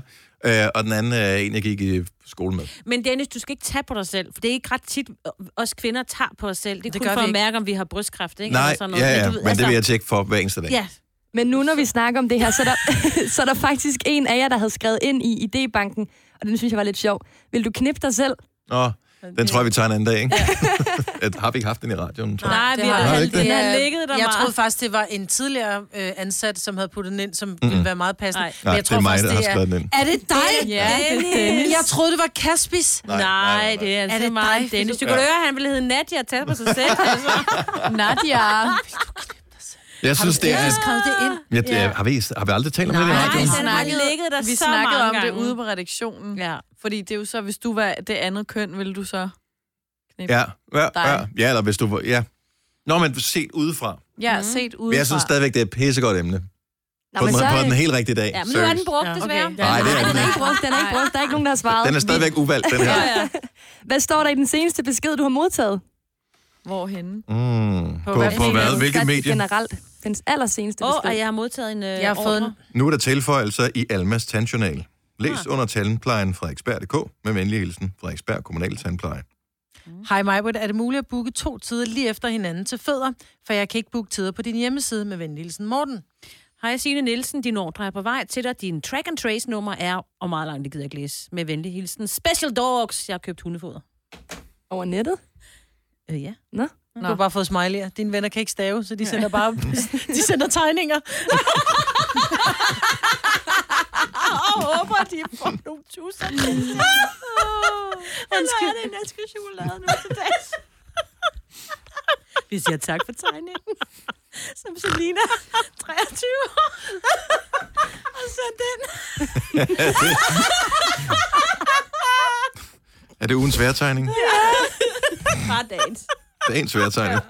Speaker 1: Øh, og den anden er en, jeg gik i skole med.
Speaker 4: Men Dennis, du skal ikke tage på dig selv, for det er ikke ret tit, øh, os kvinder tager på os selv. Det er
Speaker 3: Det
Speaker 4: kun
Speaker 3: gør
Speaker 4: for
Speaker 3: vi
Speaker 4: at
Speaker 3: ikke.
Speaker 4: mærke, om vi har brystkræft, ikke?
Speaker 1: Nej,
Speaker 4: Eller sådan
Speaker 1: ja,
Speaker 4: noget.
Speaker 1: ja,
Speaker 4: du
Speaker 1: men,
Speaker 4: ved, altså,
Speaker 1: det vil jeg tjekke for hver eneste dag.
Speaker 4: Ja,
Speaker 2: Men nu, når vi snakker om det her, så er, der, så er der faktisk en af jer, der havde skrevet ind i idébanken, og den synes jeg var lidt sjov. Vil du knippe dig selv?
Speaker 1: Nå, den tror jeg, vi tager en anden dag, ikke? At, har vi ikke haft den i radioen, tror jeg?
Speaker 4: Nej,
Speaker 3: det
Speaker 4: vi
Speaker 3: har
Speaker 4: har,
Speaker 1: jeg
Speaker 4: har
Speaker 1: ikke.
Speaker 4: den har
Speaker 3: Ja,
Speaker 4: ligget der
Speaker 3: Jeg
Speaker 4: meget.
Speaker 3: troede faktisk, det var en tidligere øh, ansat, som havde puttet den ind, som mm-hmm. ville være meget passende.
Speaker 4: Nej.
Speaker 3: Men
Speaker 1: Nej,
Speaker 3: jeg
Speaker 1: det er mig, der har skrevet den ind.
Speaker 3: Er det dig?
Speaker 4: Ja, det er
Speaker 3: Dennis?
Speaker 4: Dennis.
Speaker 3: Jeg troede, det var Kaspis.
Speaker 1: Nej,
Speaker 4: Nej,
Speaker 1: nej, nej.
Speaker 4: det er altså
Speaker 3: Er det dig,
Speaker 4: meget
Speaker 3: fordi
Speaker 4: Dennis.
Speaker 3: du-
Speaker 4: Du kunne høre, at han ville hedde Nadia og tage på sig selv. Altså.
Speaker 5: Nadia.
Speaker 1: Jeg synes, det er...
Speaker 3: Jeg skrev det ind.
Speaker 1: Jeg, jeg, har, vi, har vi aldrig talt om det i
Speaker 4: Nej,
Speaker 1: radioen?
Speaker 4: den har ligget der
Speaker 5: Vi
Speaker 4: så
Speaker 5: snakkede
Speaker 4: mange
Speaker 5: om det
Speaker 4: gange.
Speaker 5: ude på redaktionen.
Speaker 4: Ja.
Speaker 5: Fordi det er jo så, hvis du var det andet køn, ville du så...
Speaker 1: Ja, ja, ja,
Speaker 5: Dig.
Speaker 1: ja, eller hvis du... var- Ja. Nå, men set udefra.
Speaker 5: Ja, mm. set udefra.
Speaker 1: Men jeg synes stadigvæk, det er et pissegodt emne.
Speaker 2: Nå,
Speaker 1: på, den,
Speaker 2: så,
Speaker 1: på den helt rigtige dag.
Speaker 4: ja, men nu er
Speaker 1: Seriøst.
Speaker 4: den brugt,
Speaker 3: Ja, okay.
Speaker 4: desværre.
Speaker 3: Ja.
Speaker 1: Nej, det er
Speaker 2: Nej,
Speaker 1: den
Speaker 2: den er
Speaker 1: ikke.
Speaker 2: ikke brugt, den er ikke brugt. Der er ikke nogen, der har svaret.
Speaker 1: Den er stadigvæk uvalgt, den her.
Speaker 4: Ja, ja.
Speaker 2: Hvad står der i den seneste besked, du har modtaget?
Speaker 5: Hvorhenne?
Speaker 1: Mm. På, på
Speaker 2: medier?
Speaker 1: hvad? Hvilket
Speaker 2: Der-
Speaker 1: medie?
Speaker 2: Generelt. Den allerseneste
Speaker 4: Åh,
Speaker 2: besked.
Speaker 4: og jeg har modtaget en øh,
Speaker 3: Jeg har fået en...
Speaker 4: ordre.
Speaker 1: Nu er der tilføjelser i Almas tandjournal. Læs under tandplejen fra ekspert.dk med venlig hilsen fra ekspert kommunal tandpleje.
Speaker 3: Hej Majbert, er det muligt at booke to tider lige efter hinanden til fødder? For jeg kan ikke booke tider på din hjemmeside med venligelsen Morten.
Speaker 4: Hej Signe Nielsen, din ordre er på vej til dig. Din track and trace nummer er, og meget langt, det gider jeg ikke læse. Med venlig hilsen, Special Dogs. Jeg har købt hundefoder.
Speaker 2: Over nettet?
Speaker 4: Øh, ja.
Speaker 2: Nå.
Speaker 3: Du har bare fået smiley'er. Dine venner kan ikke stave, så de sender bare de sender tegninger.
Speaker 4: Og håber, at de får nogle tusser. Han skal have den æske chokolade nu til dags. Vi siger tak for tegningen. Som Selina, 23 år. Og så den.
Speaker 1: Er det ugens værtegning? Ja.
Speaker 4: Bare dagens.
Speaker 1: Det er ens værtegning.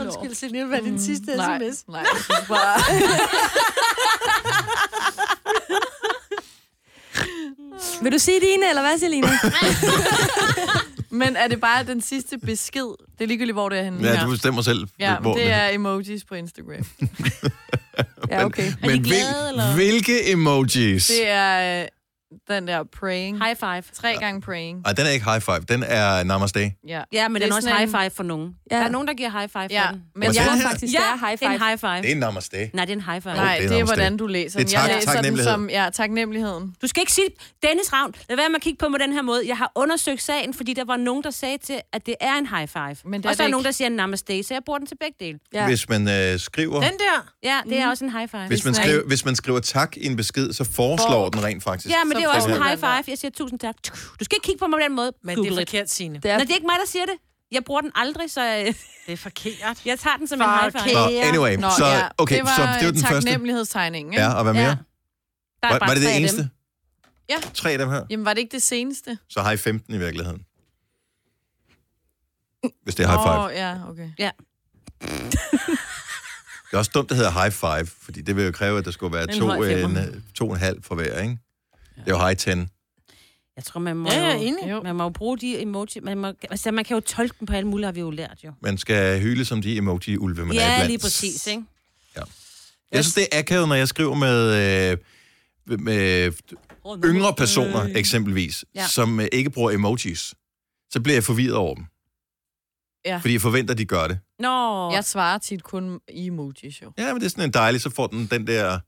Speaker 3: Undskyld, Selina, hvad er din sidste
Speaker 5: Nej,
Speaker 3: sms?
Speaker 5: nej, jeg synes bare...
Speaker 2: Vil du sige dine, eller hvad, Selina?
Speaker 5: Men er det bare den sidste besked? Det er ligegyldigt, hvor det er henne.
Speaker 1: Ja,
Speaker 5: her.
Speaker 1: du bestemmer selv,
Speaker 5: ja
Speaker 1: hvor
Speaker 5: men det er emojis på Instagram.
Speaker 2: Ja, okay.
Speaker 4: de glade, eller?
Speaker 1: hvilke emojis?
Speaker 5: Det er øh, den der praying.
Speaker 4: High five.
Speaker 5: Tre gange praying.
Speaker 1: Ej, den er ikke high five, den er namaste.
Speaker 5: Ja.
Speaker 4: Ja, men
Speaker 5: Det
Speaker 4: den
Speaker 5: er
Speaker 4: er også
Speaker 5: sådan en-
Speaker 4: high five for nogen.
Speaker 2: Ja.
Speaker 4: Ja. Der er nogen, der giver high five
Speaker 5: Ja,
Speaker 4: for den.
Speaker 5: men
Speaker 1: Og
Speaker 5: jeg
Speaker 1: så-
Speaker 5: har
Speaker 1: Ja.
Speaker 5: faktisk...
Speaker 2: Hvis det er high
Speaker 4: Det er en
Speaker 2: five.
Speaker 4: high five.
Speaker 1: Det er namaste.
Speaker 4: Nej, det er en high five.
Speaker 5: Nej,
Speaker 1: det er
Speaker 5: det er,
Speaker 1: nærmest
Speaker 5: hvordan
Speaker 1: det.
Speaker 5: du læser
Speaker 1: Det er
Speaker 5: den.
Speaker 1: tak-
Speaker 5: jeg læser
Speaker 1: taknemmelighed.
Speaker 5: den som... Ja, taknemmeligheden.
Speaker 4: Du skal ikke sige, Dennis Ravn, lad være med at kigge på mig den her måde. Jeg har undersøgt sagen, fordi der var nogen, der sagde til, at det er en high five.
Speaker 5: Men det er
Speaker 4: og så
Speaker 5: det
Speaker 4: er nogen,
Speaker 5: ikke.
Speaker 4: der siger namaste, så jeg bruger den til begge dele.
Speaker 2: Ja.
Speaker 1: Hvis man øh, skriver...
Speaker 3: Den der.
Speaker 4: Ja, det er
Speaker 5: Mm.
Speaker 4: også en high five.
Speaker 1: Hvis man,
Speaker 5: Hvis man-
Speaker 1: skriver, hvis man skriver tak i en besked, så foreslår den rent faktisk.
Speaker 4: Ja, men det er jo
Speaker 5: Så
Speaker 4: også en
Speaker 5: får
Speaker 4: high
Speaker 5: man-
Speaker 4: five. Jeg siger tusind tak. Du skal ikke kigge på mig på den måde.
Speaker 3: Men det
Speaker 4: Google
Speaker 3: er
Speaker 4: it.
Speaker 3: forkert, Signe.
Speaker 2: Det er,
Speaker 4: Nå, det er ikke mig, der siger det. Jeg bruger den aldrig, så øh,
Speaker 3: Det er forkert.
Speaker 4: jeg tager den som en
Speaker 3: Fuck.
Speaker 4: high five.
Speaker 1: Nå, anyway,
Speaker 5: Nå,
Speaker 1: så,
Speaker 5: ja.
Speaker 1: okay,
Speaker 5: det var,
Speaker 1: så det var den første.
Speaker 5: taknemlighedstegningen. ikke?
Speaker 1: Ja, og hvad mere?
Speaker 4: Ja. Der er
Speaker 1: Var,
Speaker 4: bare
Speaker 1: var det
Speaker 4: tre
Speaker 1: det
Speaker 4: af dem.
Speaker 1: eneste?
Speaker 5: Ja.
Speaker 1: Tre af dem her.
Speaker 5: Jamen, var det ikke det seneste?
Speaker 1: Så high 15 i virkeligheden.
Speaker 4: Mm.
Speaker 1: Hvis det er high five.
Speaker 5: Åh, ja, okay.
Speaker 4: Ja.
Speaker 1: Det er også dumt, det hedder high five, fordi det vil jo kræve, at der skulle være
Speaker 4: En
Speaker 1: to,
Speaker 4: høj femmer.
Speaker 1: en, øh, to og en halv for hver, ikke? Det er jo high 10.
Speaker 4: Jeg tror, man må,
Speaker 3: Ja, jeg er
Speaker 4: jo,
Speaker 3: enig.
Speaker 5: Jo.
Speaker 4: man må jo bruge de emoji. Man, må, altså, man kan jo tolke dem på alle mulige, har vi jo lært jo.
Speaker 1: Man skal hyle som de emoji-ulve, man er
Speaker 4: ja,
Speaker 1: iblandt.
Speaker 4: lige præcis, ikke?
Speaker 1: Jeg synes, det er akavet, når jeg skriver med, øh, med yngre personer, eksempelvis, ja.
Speaker 4: Mm. Ja.
Speaker 1: som øh, ikke bruger emojis. Så bliver jeg forvirret over dem.
Speaker 5: Ja.
Speaker 1: Fordi jeg forventer, at de gør det.
Speaker 4: Nå,
Speaker 5: Jeg svarer tit kun i emojis, jo.
Speaker 1: Ja, men det er sådan en dejlig, så får den den der,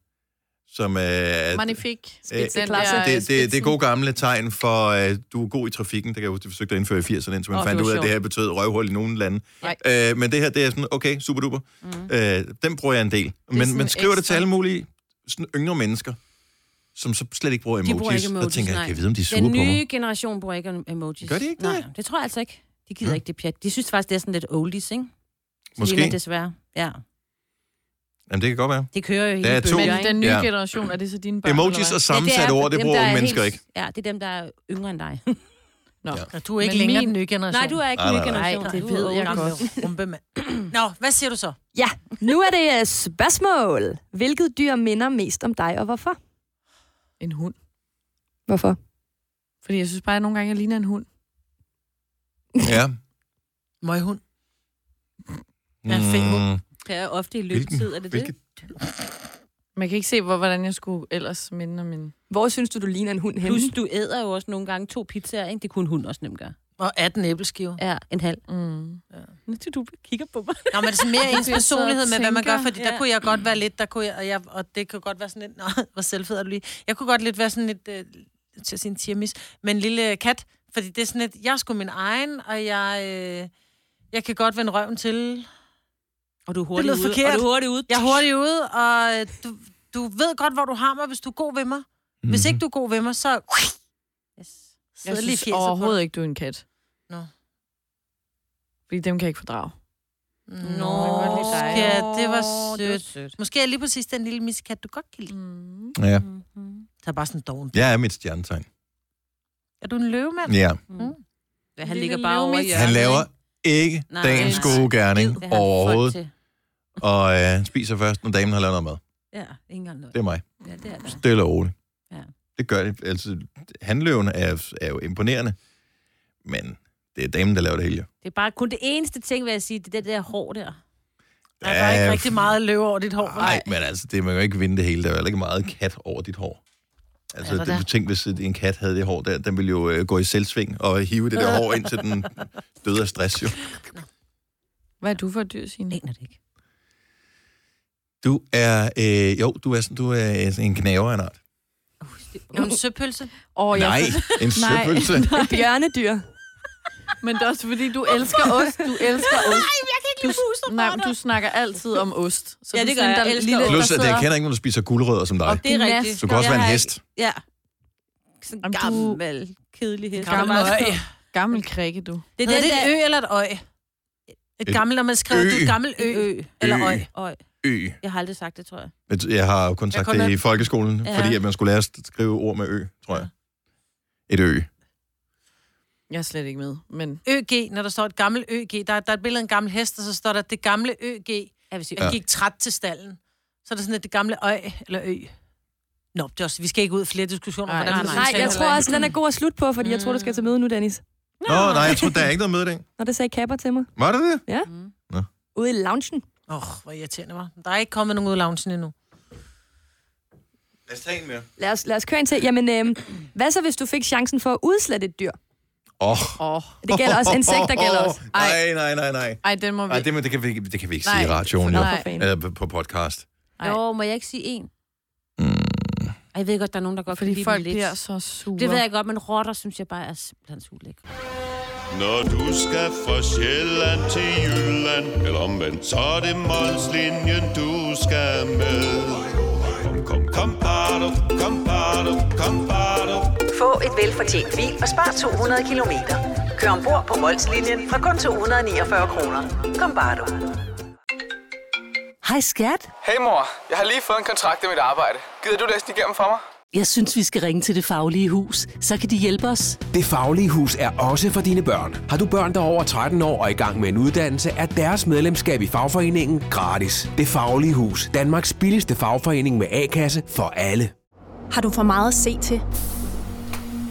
Speaker 1: som øh, er...
Speaker 5: Magnifik.
Speaker 2: Spidseklasse.
Speaker 5: Den der, øh,
Speaker 1: det, det, det er
Speaker 5: spidsen.
Speaker 1: gode gamle tegn for, øh, du er god i trafikken. Det kan jeg huske, de forsøgte at indføre i 80'erne, indtil man
Speaker 4: Åh,
Speaker 1: fandt
Speaker 4: det
Speaker 1: ud
Speaker 4: var
Speaker 1: af, at det her
Speaker 4: sjovt.
Speaker 1: betød røvhul i nogle lande.
Speaker 5: Nej.
Speaker 1: Øh, men det her, det er sådan, okay, super duper. Mm. Øh, den bruger jeg en del. Men
Speaker 5: sådan
Speaker 1: man skriver det til
Speaker 5: ekstra.
Speaker 1: alle mulige sådan yngre mennesker, som så slet ikke bruger
Speaker 4: de
Speaker 1: emojis.
Speaker 4: bruger ikke emojis,
Speaker 1: der tænker jeg,
Speaker 4: nej.
Speaker 1: kan jeg vide, om de er sure
Speaker 4: Den
Speaker 1: på
Speaker 4: nye
Speaker 1: mig?
Speaker 4: generation bruger ikke emojis.
Speaker 1: Gør de ikke
Speaker 4: Nej,
Speaker 1: det?
Speaker 4: det tror jeg altså ikke. De gider ikke det pjat. De synes faktisk, det er sådan lidt oldies, ikke?
Speaker 1: Måske.
Speaker 4: Selina, desværre. Ja,
Speaker 1: Jamen, det kan godt være.
Speaker 4: det kører jo hele
Speaker 1: Der er to-
Speaker 4: bølger,
Speaker 5: Men
Speaker 4: ikke?
Speaker 5: den nye
Speaker 1: Ja.
Speaker 5: generation, er det så dine børn?
Speaker 1: Emojis
Speaker 5: eller
Speaker 1: og
Speaker 5: hvad?
Speaker 4: Ja,
Speaker 1: sammensat
Speaker 4: er
Speaker 1: ord, det
Speaker 4: dem,
Speaker 1: bruger
Speaker 4: der
Speaker 1: unge
Speaker 4: er
Speaker 1: mennesker
Speaker 4: helt-
Speaker 1: ikke.
Speaker 4: Ja, det er dem, der er yngre end dig.
Speaker 5: Nå.
Speaker 1: Ja.
Speaker 5: Ja.
Speaker 3: Og du er ikke
Speaker 5: Men
Speaker 3: længere
Speaker 5: min-
Speaker 3: den nye generation.
Speaker 4: Nej, du er ikke
Speaker 1: Nej,
Speaker 4: ny
Speaker 1: nej, nej.
Speaker 4: generation.
Speaker 5: Nej, det
Speaker 4: Du
Speaker 5: ved
Speaker 4: er
Speaker 5: jeg
Speaker 4: oldie.
Speaker 5: godt.
Speaker 3: Rumpemand. Nå, hvad siger du så?
Speaker 2: ja, nu er det øh, spørgsmål. Hvilket dyr minder mest om dig, og hvorfor?
Speaker 5: En hund.
Speaker 2: Hvorfor?
Speaker 5: Fordi jeg synes bare, at nogle gange, jeg ligner en hund.
Speaker 1: Ja.
Speaker 3: Møghund. Ja, fed hund.
Speaker 1: Mm,
Speaker 4: Det er ofte i
Speaker 1: hvilken,
Speaker 4: løbetid, er det det?
Speaker 1: hvilken,
Speaker 5: Man kan ikke se, hvor, hvordan jeg skulle ellers minde om min...
Speaker 2: Hvor synes du, du ligner en hund henne?
Speaker 4: Plus, du æder jo også nogle gange to pizzaer, ikke? Det kunne en hund også nemt gøre.
Speaker 3: Og 18 æbleskiver.
Speaker 4: Ja, en halv.
Speaker 5: Mm.
Speaker 4: Du, du kigger på mig.
Speaker 3: Nå, men det er sådan mere ens
Speaker 5: Jeg sidder og
Speaker 3: personlighed med, hvad man gør,
Speaker 5: tænker,
Speaker 3: fordi der
Speaker 4: ja.
Speaker 3: kunne jeg godt være lidt, der kunne jeg, og, jeg, og det kunne godt være sådan lidt, nå, hvor selvfed er du lige. Jeg kunne godt lidt være sådan lidt, øh, til at sige en tiramis, men en lille øh, kat, fordi det er sådan lidt, jeg er sgu min egen, og jeg, øh, jeg kan godt vende røven til.
Speaker 4: Og du er
Speaker 3: Det
Speaker 4: hurtigt
Speaker 3: lød
Speaker 4: ude.
Speaker 3: forkert.
Speaker 4: Og du er hurtigt ude.
Speaker 3: Jeg er hurtigt ude, og øh, du, du ved godt, hvor du har mig, hvis du er god ved mig.
Speaker 1: Mm. Mhm.
Speaker 3: Hvis ikke du er god ved mig, så
Speaker 4: Yes.
Speaker 5: Jeg
Speaker 3: sidder lige
Speaker 5: synes
Speaker 3: fjeset på
Speaker 5: overhovedet
Speaker 3: dig.
Speaker 5: ikke, du er en kat.
Speaker 3: Nå.
Speaker 5: Fordi dem kan jeg ikke fordrage.
Speaker 3: Nå,
Speaker 5: jeg kan godt lide dig.
Speaker 3: ja, det var
Speaker 4: Det var
Speaker 3: sødt.
Speaker 4: sødt.
Speaker 3: Måske er lige præcis den lille miskat, du godt kan lide.
Speaker 5: Mm.
Speaker 1: Ja.
Speaker 4: Mm-hmm.
Speaker 3: Der er bare sådan en doven.
Speaker 1: Jeg er mit stjernetegn.
Speaker 3: Er du en løvemand?
Speaker 1: Ja.
Speaker 4: Mm. Han
Speaker 5: Lille
Speaker 4: ligger bare over i
Speaker 5: løvemis.
Speaker 1: Han
Speaker 4: hjørnet,
Speaker 1: laver
Speaker 4: ikke?
Speaker 1: ikke
Speaker 4: Nej.
Speaker 1: dagens gode gerning
Speaker 4: Det har han
Speaker 1: overhovedet,
Speaker 4: folk til.
Speaker 1: og øh, han spiser først, når damen har lavet noget mad.
Speaker 4: Ja, ikke engang noget.
Speaker 1: Det er mig.
Speaker 4: Ja, det er der.
Speaker 1: Stille og roligt.
Speaker 4: Ja.
Speaker 1: Det gør det. Altså, handløven er, er jo imponerende, men det er damen, der laver det hele. jo.
Speaker 4: Det er bare kun det eneste ting, vil jeg sige, det er det der hår der.
Speaker 3: Der er bare
Speaker 1: Ja,
Speaker 3: ikke rigtig meget løv over dit hår.
Speaker 1: Øh, Nej, men altså, det, man kan jo ikke vinde det hele. Der er jo heller ikke meget kat over dit hår. Altså,
Speaker 3: Er der
Speaker 1: det, du
Speaker 3: det?
Speaker 1: tænk, hvis en kat havde det hår der, den ville jo øh, gå i selvsving og hive det der hår ind til den døde af stress, jo.
Speaker 5: Hvad er du for et dyr, Signe?
Speaker 4: Aner det ikke.
Speaker 1: Du er, øh, jo, du er, sådan, du er sådan en knaver af en art.
Speaker 3: Er du en søpølse?
Speaker 5: Oh,
Speaker 1: Nej, en
Speaker 5: Nej.
Speaker 1: søpølse.
Speaker 2: Et bjørnedyr.
Speaker 5: Men det er også fordi, du elsker ost. Du elsker ost.
Speaker 4: Nej, jeg kan ikke
Speaker 5: Du, nej, men du snakker altid om ost. Så
Speaker 4: Ja,
Speaker 5: du
Speaker 4: det
Speaker 5: er
Speaker 4: gør
Speaker 5: sådan,
Speaker 4: jeg.
Speaker 5: der
Speaker 4: Jeg elsker
Speaker 5: lille-
Speaker 4: ost.
Speaker 5: der
Speaker 1: Plus, at jeg
Speaker 5: sidder-
Speaker 1: kender ikke, når du spiser gulerødder som dig.
Speaker 5: Og
Speaker 1: Du
Speaker 4: Det er rigtigt.
Speaker 1: kan også
Speaker 4: Jeg
Speaker 1: være en
Speaker 4: har
Speaker 1: hest.
Speaker 4: Ja. Sådan en
Speaker 5: Jamen, du-
Speaker 4: gammel, kedelig hest.
Speaker 5: Gammel
Speaker 4: Der bare-
Speaker 5: øj. Gammel krikke, du.
Speaker 4: Det
Speaker 3: Det
Speaker 4: er
Speaker 3: er
Speaker 4: den
Speaker 3: det
Speaker 4: der
Speaker 3: et ø eller et øj? Et
Speaker 1: Et
Speaker 3: gammelt, når man skriver,
Speaker 1: ø.
Speaker 3: du er et gammelt ø,
Speaker 4: ø.
Speaker 3: eller
Speaker 1: Ø.
Speaker 3: øj.
Speaker 4: Øj.
Speaker 1: Ø.
Speaker 4: Jeg har aldrig sagt det, tror jeg.
Speaker 1: Men Jeg har jo kun
Speaker 3: Jeg
Speaker 1: sagt
Speaker 3: kun
Speaker 1: det i
Speaker 3: er-
Speaker 1: folkeskolen,
Speaker 4: Ja.
Speaker 1: fordi at man skulle lære at skrive ord med ø, tror jeg. Et ø.
Speaker 5: Jeg er slet ikke med, men...
Speaker 3: ØG, når der står et gammelt ØG, der, er- der er et billede af en gammel hest, og så står der, det gamle ØG,
Speaker 4: Jeg vil sige,
Speaker 3: han gik træt til stallen. Så er der sådan et det gamle øj, eller ø. Nå, det er også, vi skal ikke ud i flere diskussioner.
Speaker 5: Nej,
Speaker 3: hvordan vi
Speaker 5: nej,
Speaker 2: Nej,
Speaker 3: taler
Speaker 2: jeg
Speaker 3: om
Speaker 2: tror
Speaker 3: det.
Speaker 2: også, den er god at slutte på, fordi jeg tror, du skal til møde nu, Dennis.
Speaker 1: Nå, nej, jeg tror, der er ikke noget møde i dag.
Speaker 2: Når det sagde Kapper til mig.
Speaker 1: Var det det?
Speaker 2: Ude i loungen.
Speaker 3: Åh, oh, hvor irriterende, var. Der er ikke kommet nogen ud af loungen endnu.
Speaker 1: Lad os tage en mere.
Speaker 2: Lad os, lad os køre ind til. Jamen, øhm, hvad så, hvis du fik chancen for at udslette et dyr?
Speaker 1: Åh. Oh.
Speaker 5: Åh,
Speaker 2: Det gælder også insekter, gælder også.
Speaker 1: Nej, nej, nej, nej.
Speaker 5: ej, den må vi...
Speaker 1: Nej, det, men det, kan vi, ikke- det kan vi ikke sige i
Speaker 5: Nej.
Speaker 1: radioen, jo.
Speaker 2: Nå,
Speaker 5: Nej.
Speaker 2: for fanden.
Speaker 1: Eller på- på podcast.
Speaker 5: Ej.
Speaker 4: Jo, må jeg ikke sige en?
Speaker 1: Mm.
Speaker 4: Ej, Jeg ved godt, der er nogen, der godt kan
Speaker 5: Fordi
Speaker 4: lide
Speaker 5: folk
Speaker 4: dem lidt.
Speaker 5: bliver så sure.
Speaker 4: Det ved jeg godt, men rotter synes jeg bare er simpelthen så ulækre.
Speaker 6: Når du skal fra Sjælland til Jylland Eller omvendt Så er det Molslinjen du skal med Kom, kom, kom, bado, kom, bado, kom, bado.
Speaker 7: Få et velfortjent bil og spar 200 kilometer. Kør ombord på Molslinjen fra kun 249 kroner. Kom bare du.
Speaker 8: Hej skat.
Speaker 9: Hey mor, jeg har lige fået en kontrakt i mit arbejde. Gider du læse den igennem for mig?
Speaker 8: Jeg synes, vi skal ringe til Det Faglige Hus. Så kan de hjælpe os.
Speaker 10: Det Faglige Hus er også for dine børn. Har du børn, der er over 13 år og i gang med en uddannelse, er deres medlemskab i fagforeningen gratis. Det Faglige Hus. Danmarks billigste fagforening med A-kasse for alle.
Speaker 11: Har du for meget at se til?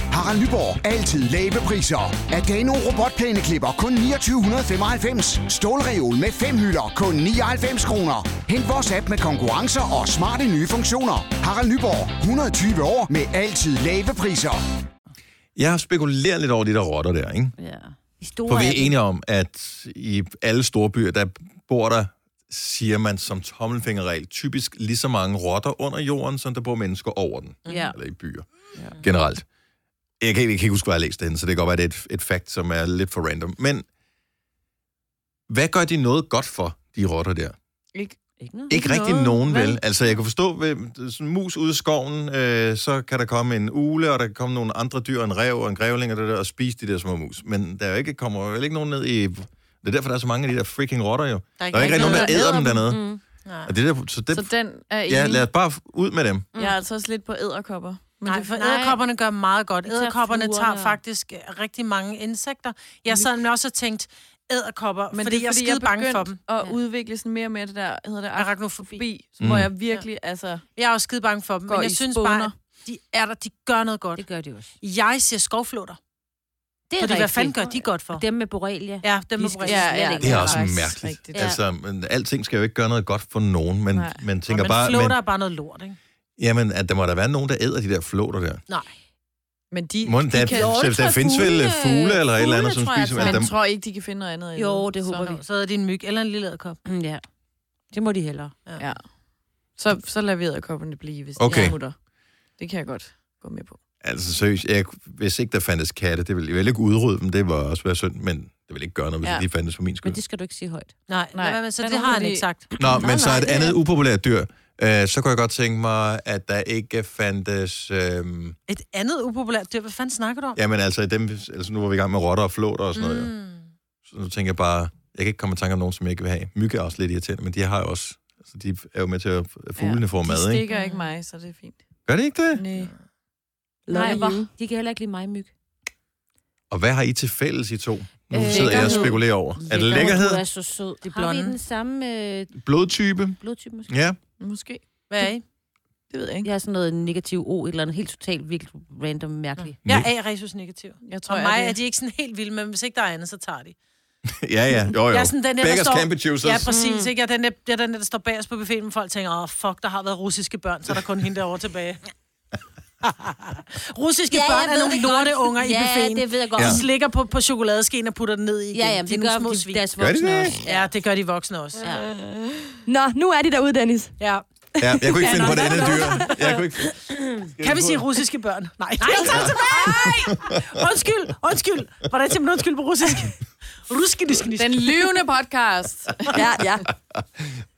Speaker 9: Harald Nyborg. Altid lave priser. Adano robotplæneklipper kun 2995. Stålreol med fem hylder kun 99 kroner. Hent vores app med konkurrencer og smarte nye funktioner. Harald Nyborg. 120 år med altid lave priser.
Speaker 1: Jeg har spekuleret lidt over de der rotter der, ikke?
Speaker 4: Ja. De store
Speaker 1: For vi
Speaker 4: er
Speaker 1: er enige om, at i alle store byer, der bor der, siger man som tommelfingerregel, typisk lige så mange rotter under jorden, som der bor mennesker over den.
Speaker 4: Ja.
Speaker 1: Eller i byer. Ja. Generelt. Jeg kan, jeg kan ikke huske, hvor jeg har læst det henne, så det kan godt være, at det er et, et fact, som er lidt for random. Men hvad gør de noget godt for, de rotter der?
Speaker 5: Ikke.
Speaker 4: Ikke noget.
Speaker 1: Ikke rigtig
Speaker 3: noget,
Speaker 1: nogen, vel?
Speaker 3: vel?
Speaker 1: Altså, jeg kan forstå, ved sådan en mus ude i skoven, øh, så kan der komme en ule, og der kan komme nogle andre dyr, en rev og en grævling og det der, og spise de der små mus. Men der er jo ikke, kommer vel ikke nogen ned i... Det er derfor, der er så mange af de der freaking rotter jo. Der er ikke rigtig nogen, der æder dem dernede.
Speaker 4: Mm.
Speaker 3: Nej,
Speaker 1: Og det der, så det,
Speaker 5: Så den er enig.
Speaker 1: ja, lad os bare f- ud med dem.
Speaker 5: Jeg er altså også lidt på æderkopper. Men
Speaker 3: nej,
Speaker 5: det
Speaker 3: for æderkopperne gør meget godt.
Speaker 4: tager
Speaker 3: Æderkopperne
Speaker 4: fluer
Speaker 3: tager
Speaker 4: og-
Speaker 3: faktisk øh, rigtig mange insekter. Jeg sad nemlig også og tænkte, æderkopper, fordi,
Speaker 5: men
Speaker 3: fordi jeg er skide
Speaker 5: jeg
Speaker 3: bange for dem.
Speaker 5: at udvikle sådan mere og mere det der, hedder det,
Speaker 3: Arachnofobi.
Speaker 5: arachnofobi, mm. hvor jeg virkelig, altså...
Speaker 3: Jeg er også skide bange for dem,
Speaker 5: Går
Speaker 3: men
Speaker 5: i
Speaker 3: jeg synes
Speaker 5: spåner.
Speaker 3: bare, at de er der, de gør noget godt.
Speaker 4: Det gør de også.
Speaker 3: Jeg siger skovflåter,
Speaker 4: Det
Speaker 3: fordi hvad fanden gør de godt for?
Speaker 4: Dem med borrelia.
Speaker 3: Ja, dem
Speaker 4: De
Speaker 3: må
Speaker 4: skal-
Speaker 3: ja.
Speaker 4: Ja.
Speaker 1: Det er også
Speaker 5: faktisk
Speaker 1: mærkeligt.
Speaker 5: rigtigt.
Speaker 4: Ja.
Speaker 1: Altså, men, alting skal jo ikke gøre noget godt for nogen, men
Speaker 5: Nej.
Speaker 1: man
Speaker 3: Men
Speaker 1: tænker bare...
Speaker 3: flåter
Speaker 1: Men,
Speaker 3: er bare noget lort, ikke?
Speaker 1: jamen, at der må der være nogen, der æder de der flåter der.
Speaker 3: Nej.
Speaker 5: Men de,
Speaker 1: Må,
Speaker 5: de
Speaker 1: der,
Speaker 5: kan...
Speaker 1: der, der findes vel
Speaker 4: fugle-
Speaker 1: fugle eller et eller andet,
Speaker 4: fugle,
Speaker 1: som
Speaker 4: tror jeg,
Speaker 1: spiser...
Speaker 4: altså.
Speaker 1: men
Speaker 5: Men
Speaker 1: der-
Speaker 5: jeg tror ikke, de kan finde noget andet.
Speaker 4: Jo,
Speaker 5: endnu.
Speaker 4: det håber
Speaker 5: så,
Speaker 4: vi.
Speaker 3: Så er det en myg eller en lille æderkop.
Speaker 4: Mm, ja. Det må de hellere.
Speaker 5: Ja. Så, så lader vi æderkopperne blive, hvis
Speaker 1: Okay.
Speaker 5: de smutter. Det kan jeg godt gå med på.
Speaker 1: Altså seriøst, jeg, hvis ikke der fandtes katte, det ville jeg ville ikke udrydde dem, det var også være synd, men det ville ikke gøre noget, hvis
Speaker 5: Ja.
Speaker 1: ja. de fandtes for min skyld.
Speaker 4: Men det skal du ikke sige højt.
Speaker 3: Nej,
Speaker 5: Nej.
Speaker 3: nej. Men, så
Speaker 5: Men
Speaker 3: det
Speaker 5: nu
Speaker 3: har
Speaker 5: må
Speaker 3: han
Speaker 5: de-
Speaker 3: ikke sagt.
Speaker 1: Nå, men så
Speaker 5: nej,
Speaker 1: et
Speaker 5: det er-
Speaker 1: andet upopulært dyr, øh, så kunne jeg godt tænke mig, at der ikke fandtes... Øh,
Speaker 3: Et andet upopulært dyr, hvad fanden snakker du om?
Speaker 1: jamen altså, i dem, altså, nu var vi i gang med rotter og flåter og sådan noget. Mm. Så nu tænker jeg bare, jeg kan ikke komme i tanke om nogen, som jeg ikke vil have. Myg er også lidt irriterende, men de har jo også... Altså, de er jo med til at at fuglene ja, får
Speaker 5: de
Speaker 1: mad, ikke?
Speaker 5: stikker ikke mig, så det er fint.
Speaker 1: Gør det ikke det?
Speaker 5: Nej.
Speaker 4: Nej,
Speaker 2: you.
Speaker 4: hvor- de kan heller ikke lide mig, myg.
Speaker 1: Og hvad har I til fælles, I to? Nu
Speaker 5: Øh,
Speaker 1: sidder jeg og
Speaker 5: lækkerhed.
Speaker 1: spekulerer over. Er det
Speaker 4: Du er
Speaker 1: lækkerhed?
Speaker 4: så sød.
Speaker 3: De
Speaker 4: De blonde. Har vi
Speaker 3: blonde.
Speaker 4: den samme øh,
Speaker 1: Blodtype?
Speaker 4: blodtype måske?
Speaker 1: Ja.
Speaker 5: Måske.
Speaker 3: Hvad er I?
Speaker 5: Det ved jeg ikke.
Speaker 4: Jeg har sådan noget negativ O, et eller andet helt totalt virkelig random mærkeligt.
Speaker 3: Jeg er A-resus negativ.
Speaker 5: Jeg tror,
Speaker 3: For
Speaker 5: jeg
Speaker 3: mig
Speaker 5: det.
Speaker 3: er de ikke sådan helt vilde, men hvis ikke der er andet, så tager de.
Speaker 1: Ja, ja. Jo, jo.
Speaker 3: Jeg er sådan den der, der
Speaker 1: Beggars
Speaker 3: står...
Speaker 1: Campbell Juicers.
Speaker 3: Ja, præcis. Ikke? Jeg er den der, jeg er den der, der står bagerst på buffeten, men folk tænker, åh, oh, fuck, der har været russiske børn, så er der kun hende derovre tilbage. russiske ja, børn er nogle lorte unger i buffeten.
Speaker 4: Ja, det ved jeg godt.
Speaker 3: Og
Speaker 4: Ja,
Speaker 3: de slikker på, på chokoladeskeen og putter den ned i. igen.
Speaker 4: ja, jamen,
Speaker 3: de er
Speaker 4: det
Speaker 3: nogle
Speaker 4: gør
Speaker 3: små
Speaker 4: de,
Speaker 3: svin.
Speaker 4: deres
Speaker 1: de
Speaker 4: voksne
Speaker 1: det?
Speaker 4: også.
Speaker 3: Ja, det gør de voksne også. Ja.
Speaker 4: Ja.
Speaker 2: Nå, nu er de derude, Dennis.
Speaker 3: ja.
Speaker 1: Ja, jeg kunne ikke finde på det andet dyr. Jeg kunne ikke...
Speaker 3: Kan vi sige russiske børn? Nej, Nej jeg tager det
Speaker 4: Altså,
Speaker 3: tilbage! Undskyld, undskyld. Hvordan siger man undskyld på russisk? Ruskisk,
Speaker 5: Den lyvende podcast.
Speaker 2: Ja, ja.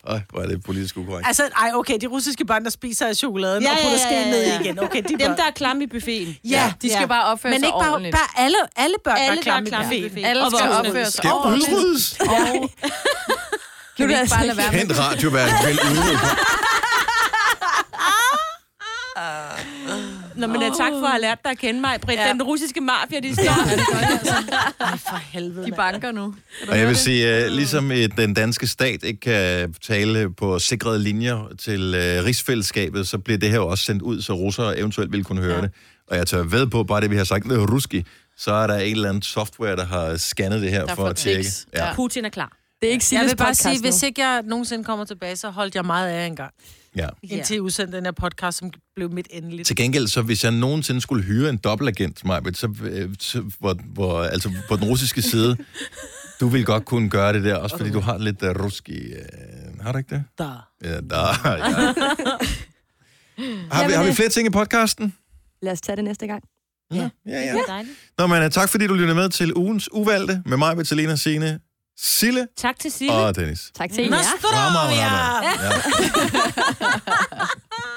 Speaker 1: Øj, hvor er det politisk ukorrekt.
Speaker 3: Altså, ej, okay, de russiske børn, der spiser af chokoladen ja, og putter ja, ja, ja. ned i igen. Okay, de
Speaker 4: Dem, der er klamme i buffeten. Altså,
Speaker 3: Ja,
Speaker 5: de skal bare opføre
Speaker 3: Men
Speaker 5: sig
Speaker 3: ikke bare,
Speaker 5: ordentligt.
Speaker 3: bare alle, alle børn,
Speaker 4: Alle,
Speaker 3: alle der
Speaker 4: der er
Speaker 3: er klamme
Speaker 4: klamme i
Speaker 3: i buffeten.
Speaker 4: buffeten.
Speaker 5: Alle
Speaker 4: Og
Speaker 5: skal
Speaker 4: voksne.
Speaker 5: opføre sig
Speaker 1: Skal
Speaker 5: ordentligt.
Speaker 1: udryddes.
Speaker 5: Og kan vi ikke bare lade være med
Speaker 1: Kendt radiovært vil udrydde.
Speaker 4: Nå, men oh. tak for at have lært dig at kende mig, Britt. Ja.
Speaker 5: Ja.
Speaker 4: Den russiske mafia, de står. Ja, det
Speaker 3: For helvede,
Speaker 5: De
Speaker 3: mand.
Speaker 5: banker nu.
Speaker 1: Og jeg vil sige, uh, ligesom øh, den danske stat ikke kan tale på sikrede linjer til uh, rigsfællesskabet, så bliver det her jo også sendt ud, så russere eventuelt vil kunne høre ja. det. Og jeg tør ved på, bare det vi har sagt, det er ruski, så er der en eller anden software, der har scannet det her
Speaker 5: Der
Speaker 1: for
Speaker 5: får
Speaker 1: at tjekke.
Speaker 5: tics.
Speaker 1: Ja.
Speaker 5: Ja.
Speaker 4: Putin er klar.
Speaker 2: Det er ikke
Speaker 3: Jeg
Speaker 2: Silles
Speaker 3: vil bare
Speaker 2: podcast
Speaker 3: sige,
Speaker 2: nu.
Speaker 3: hvis ikke jeg nogensinde kommer tilbage, så holdt jeg meget af jer engang.
Speaker 1: Ja.
Speaker 4: Ja.
Speaker 3: Indtil I udsendte den her podcast, som blev mit endeligt.
Speaker 1: Til gengæld, så hvis jeg nogensinde skulle hyre en dobbeltagent, Majbet, så, øh, så hvor, hvor, altså på den russiske side, du vil godt kunne gøre det der, også fordi du har lidt uh, ruski... Uh, har du ikke det?
Speaker 3: Der.
Speaker 1: Ja, der, ja. Har, vi, har vi flere ting i podcasten?
Speaker 2: Lad os tage det næste gang.
Speaker 1: Ja, ja. ja.
Speaker 4: Dejligt.
Speaker 1: Nå, men øh, tak fordi du lyttede med til ugens uvalgte med mig, Vitalina Sine, Sille
Speaker 4: Tak til Sille.
Speaker 1: og Dennis.
Speaker 2: Tak til jer.
Speaker 3: Nostradamus!
Speaker 1: Ja.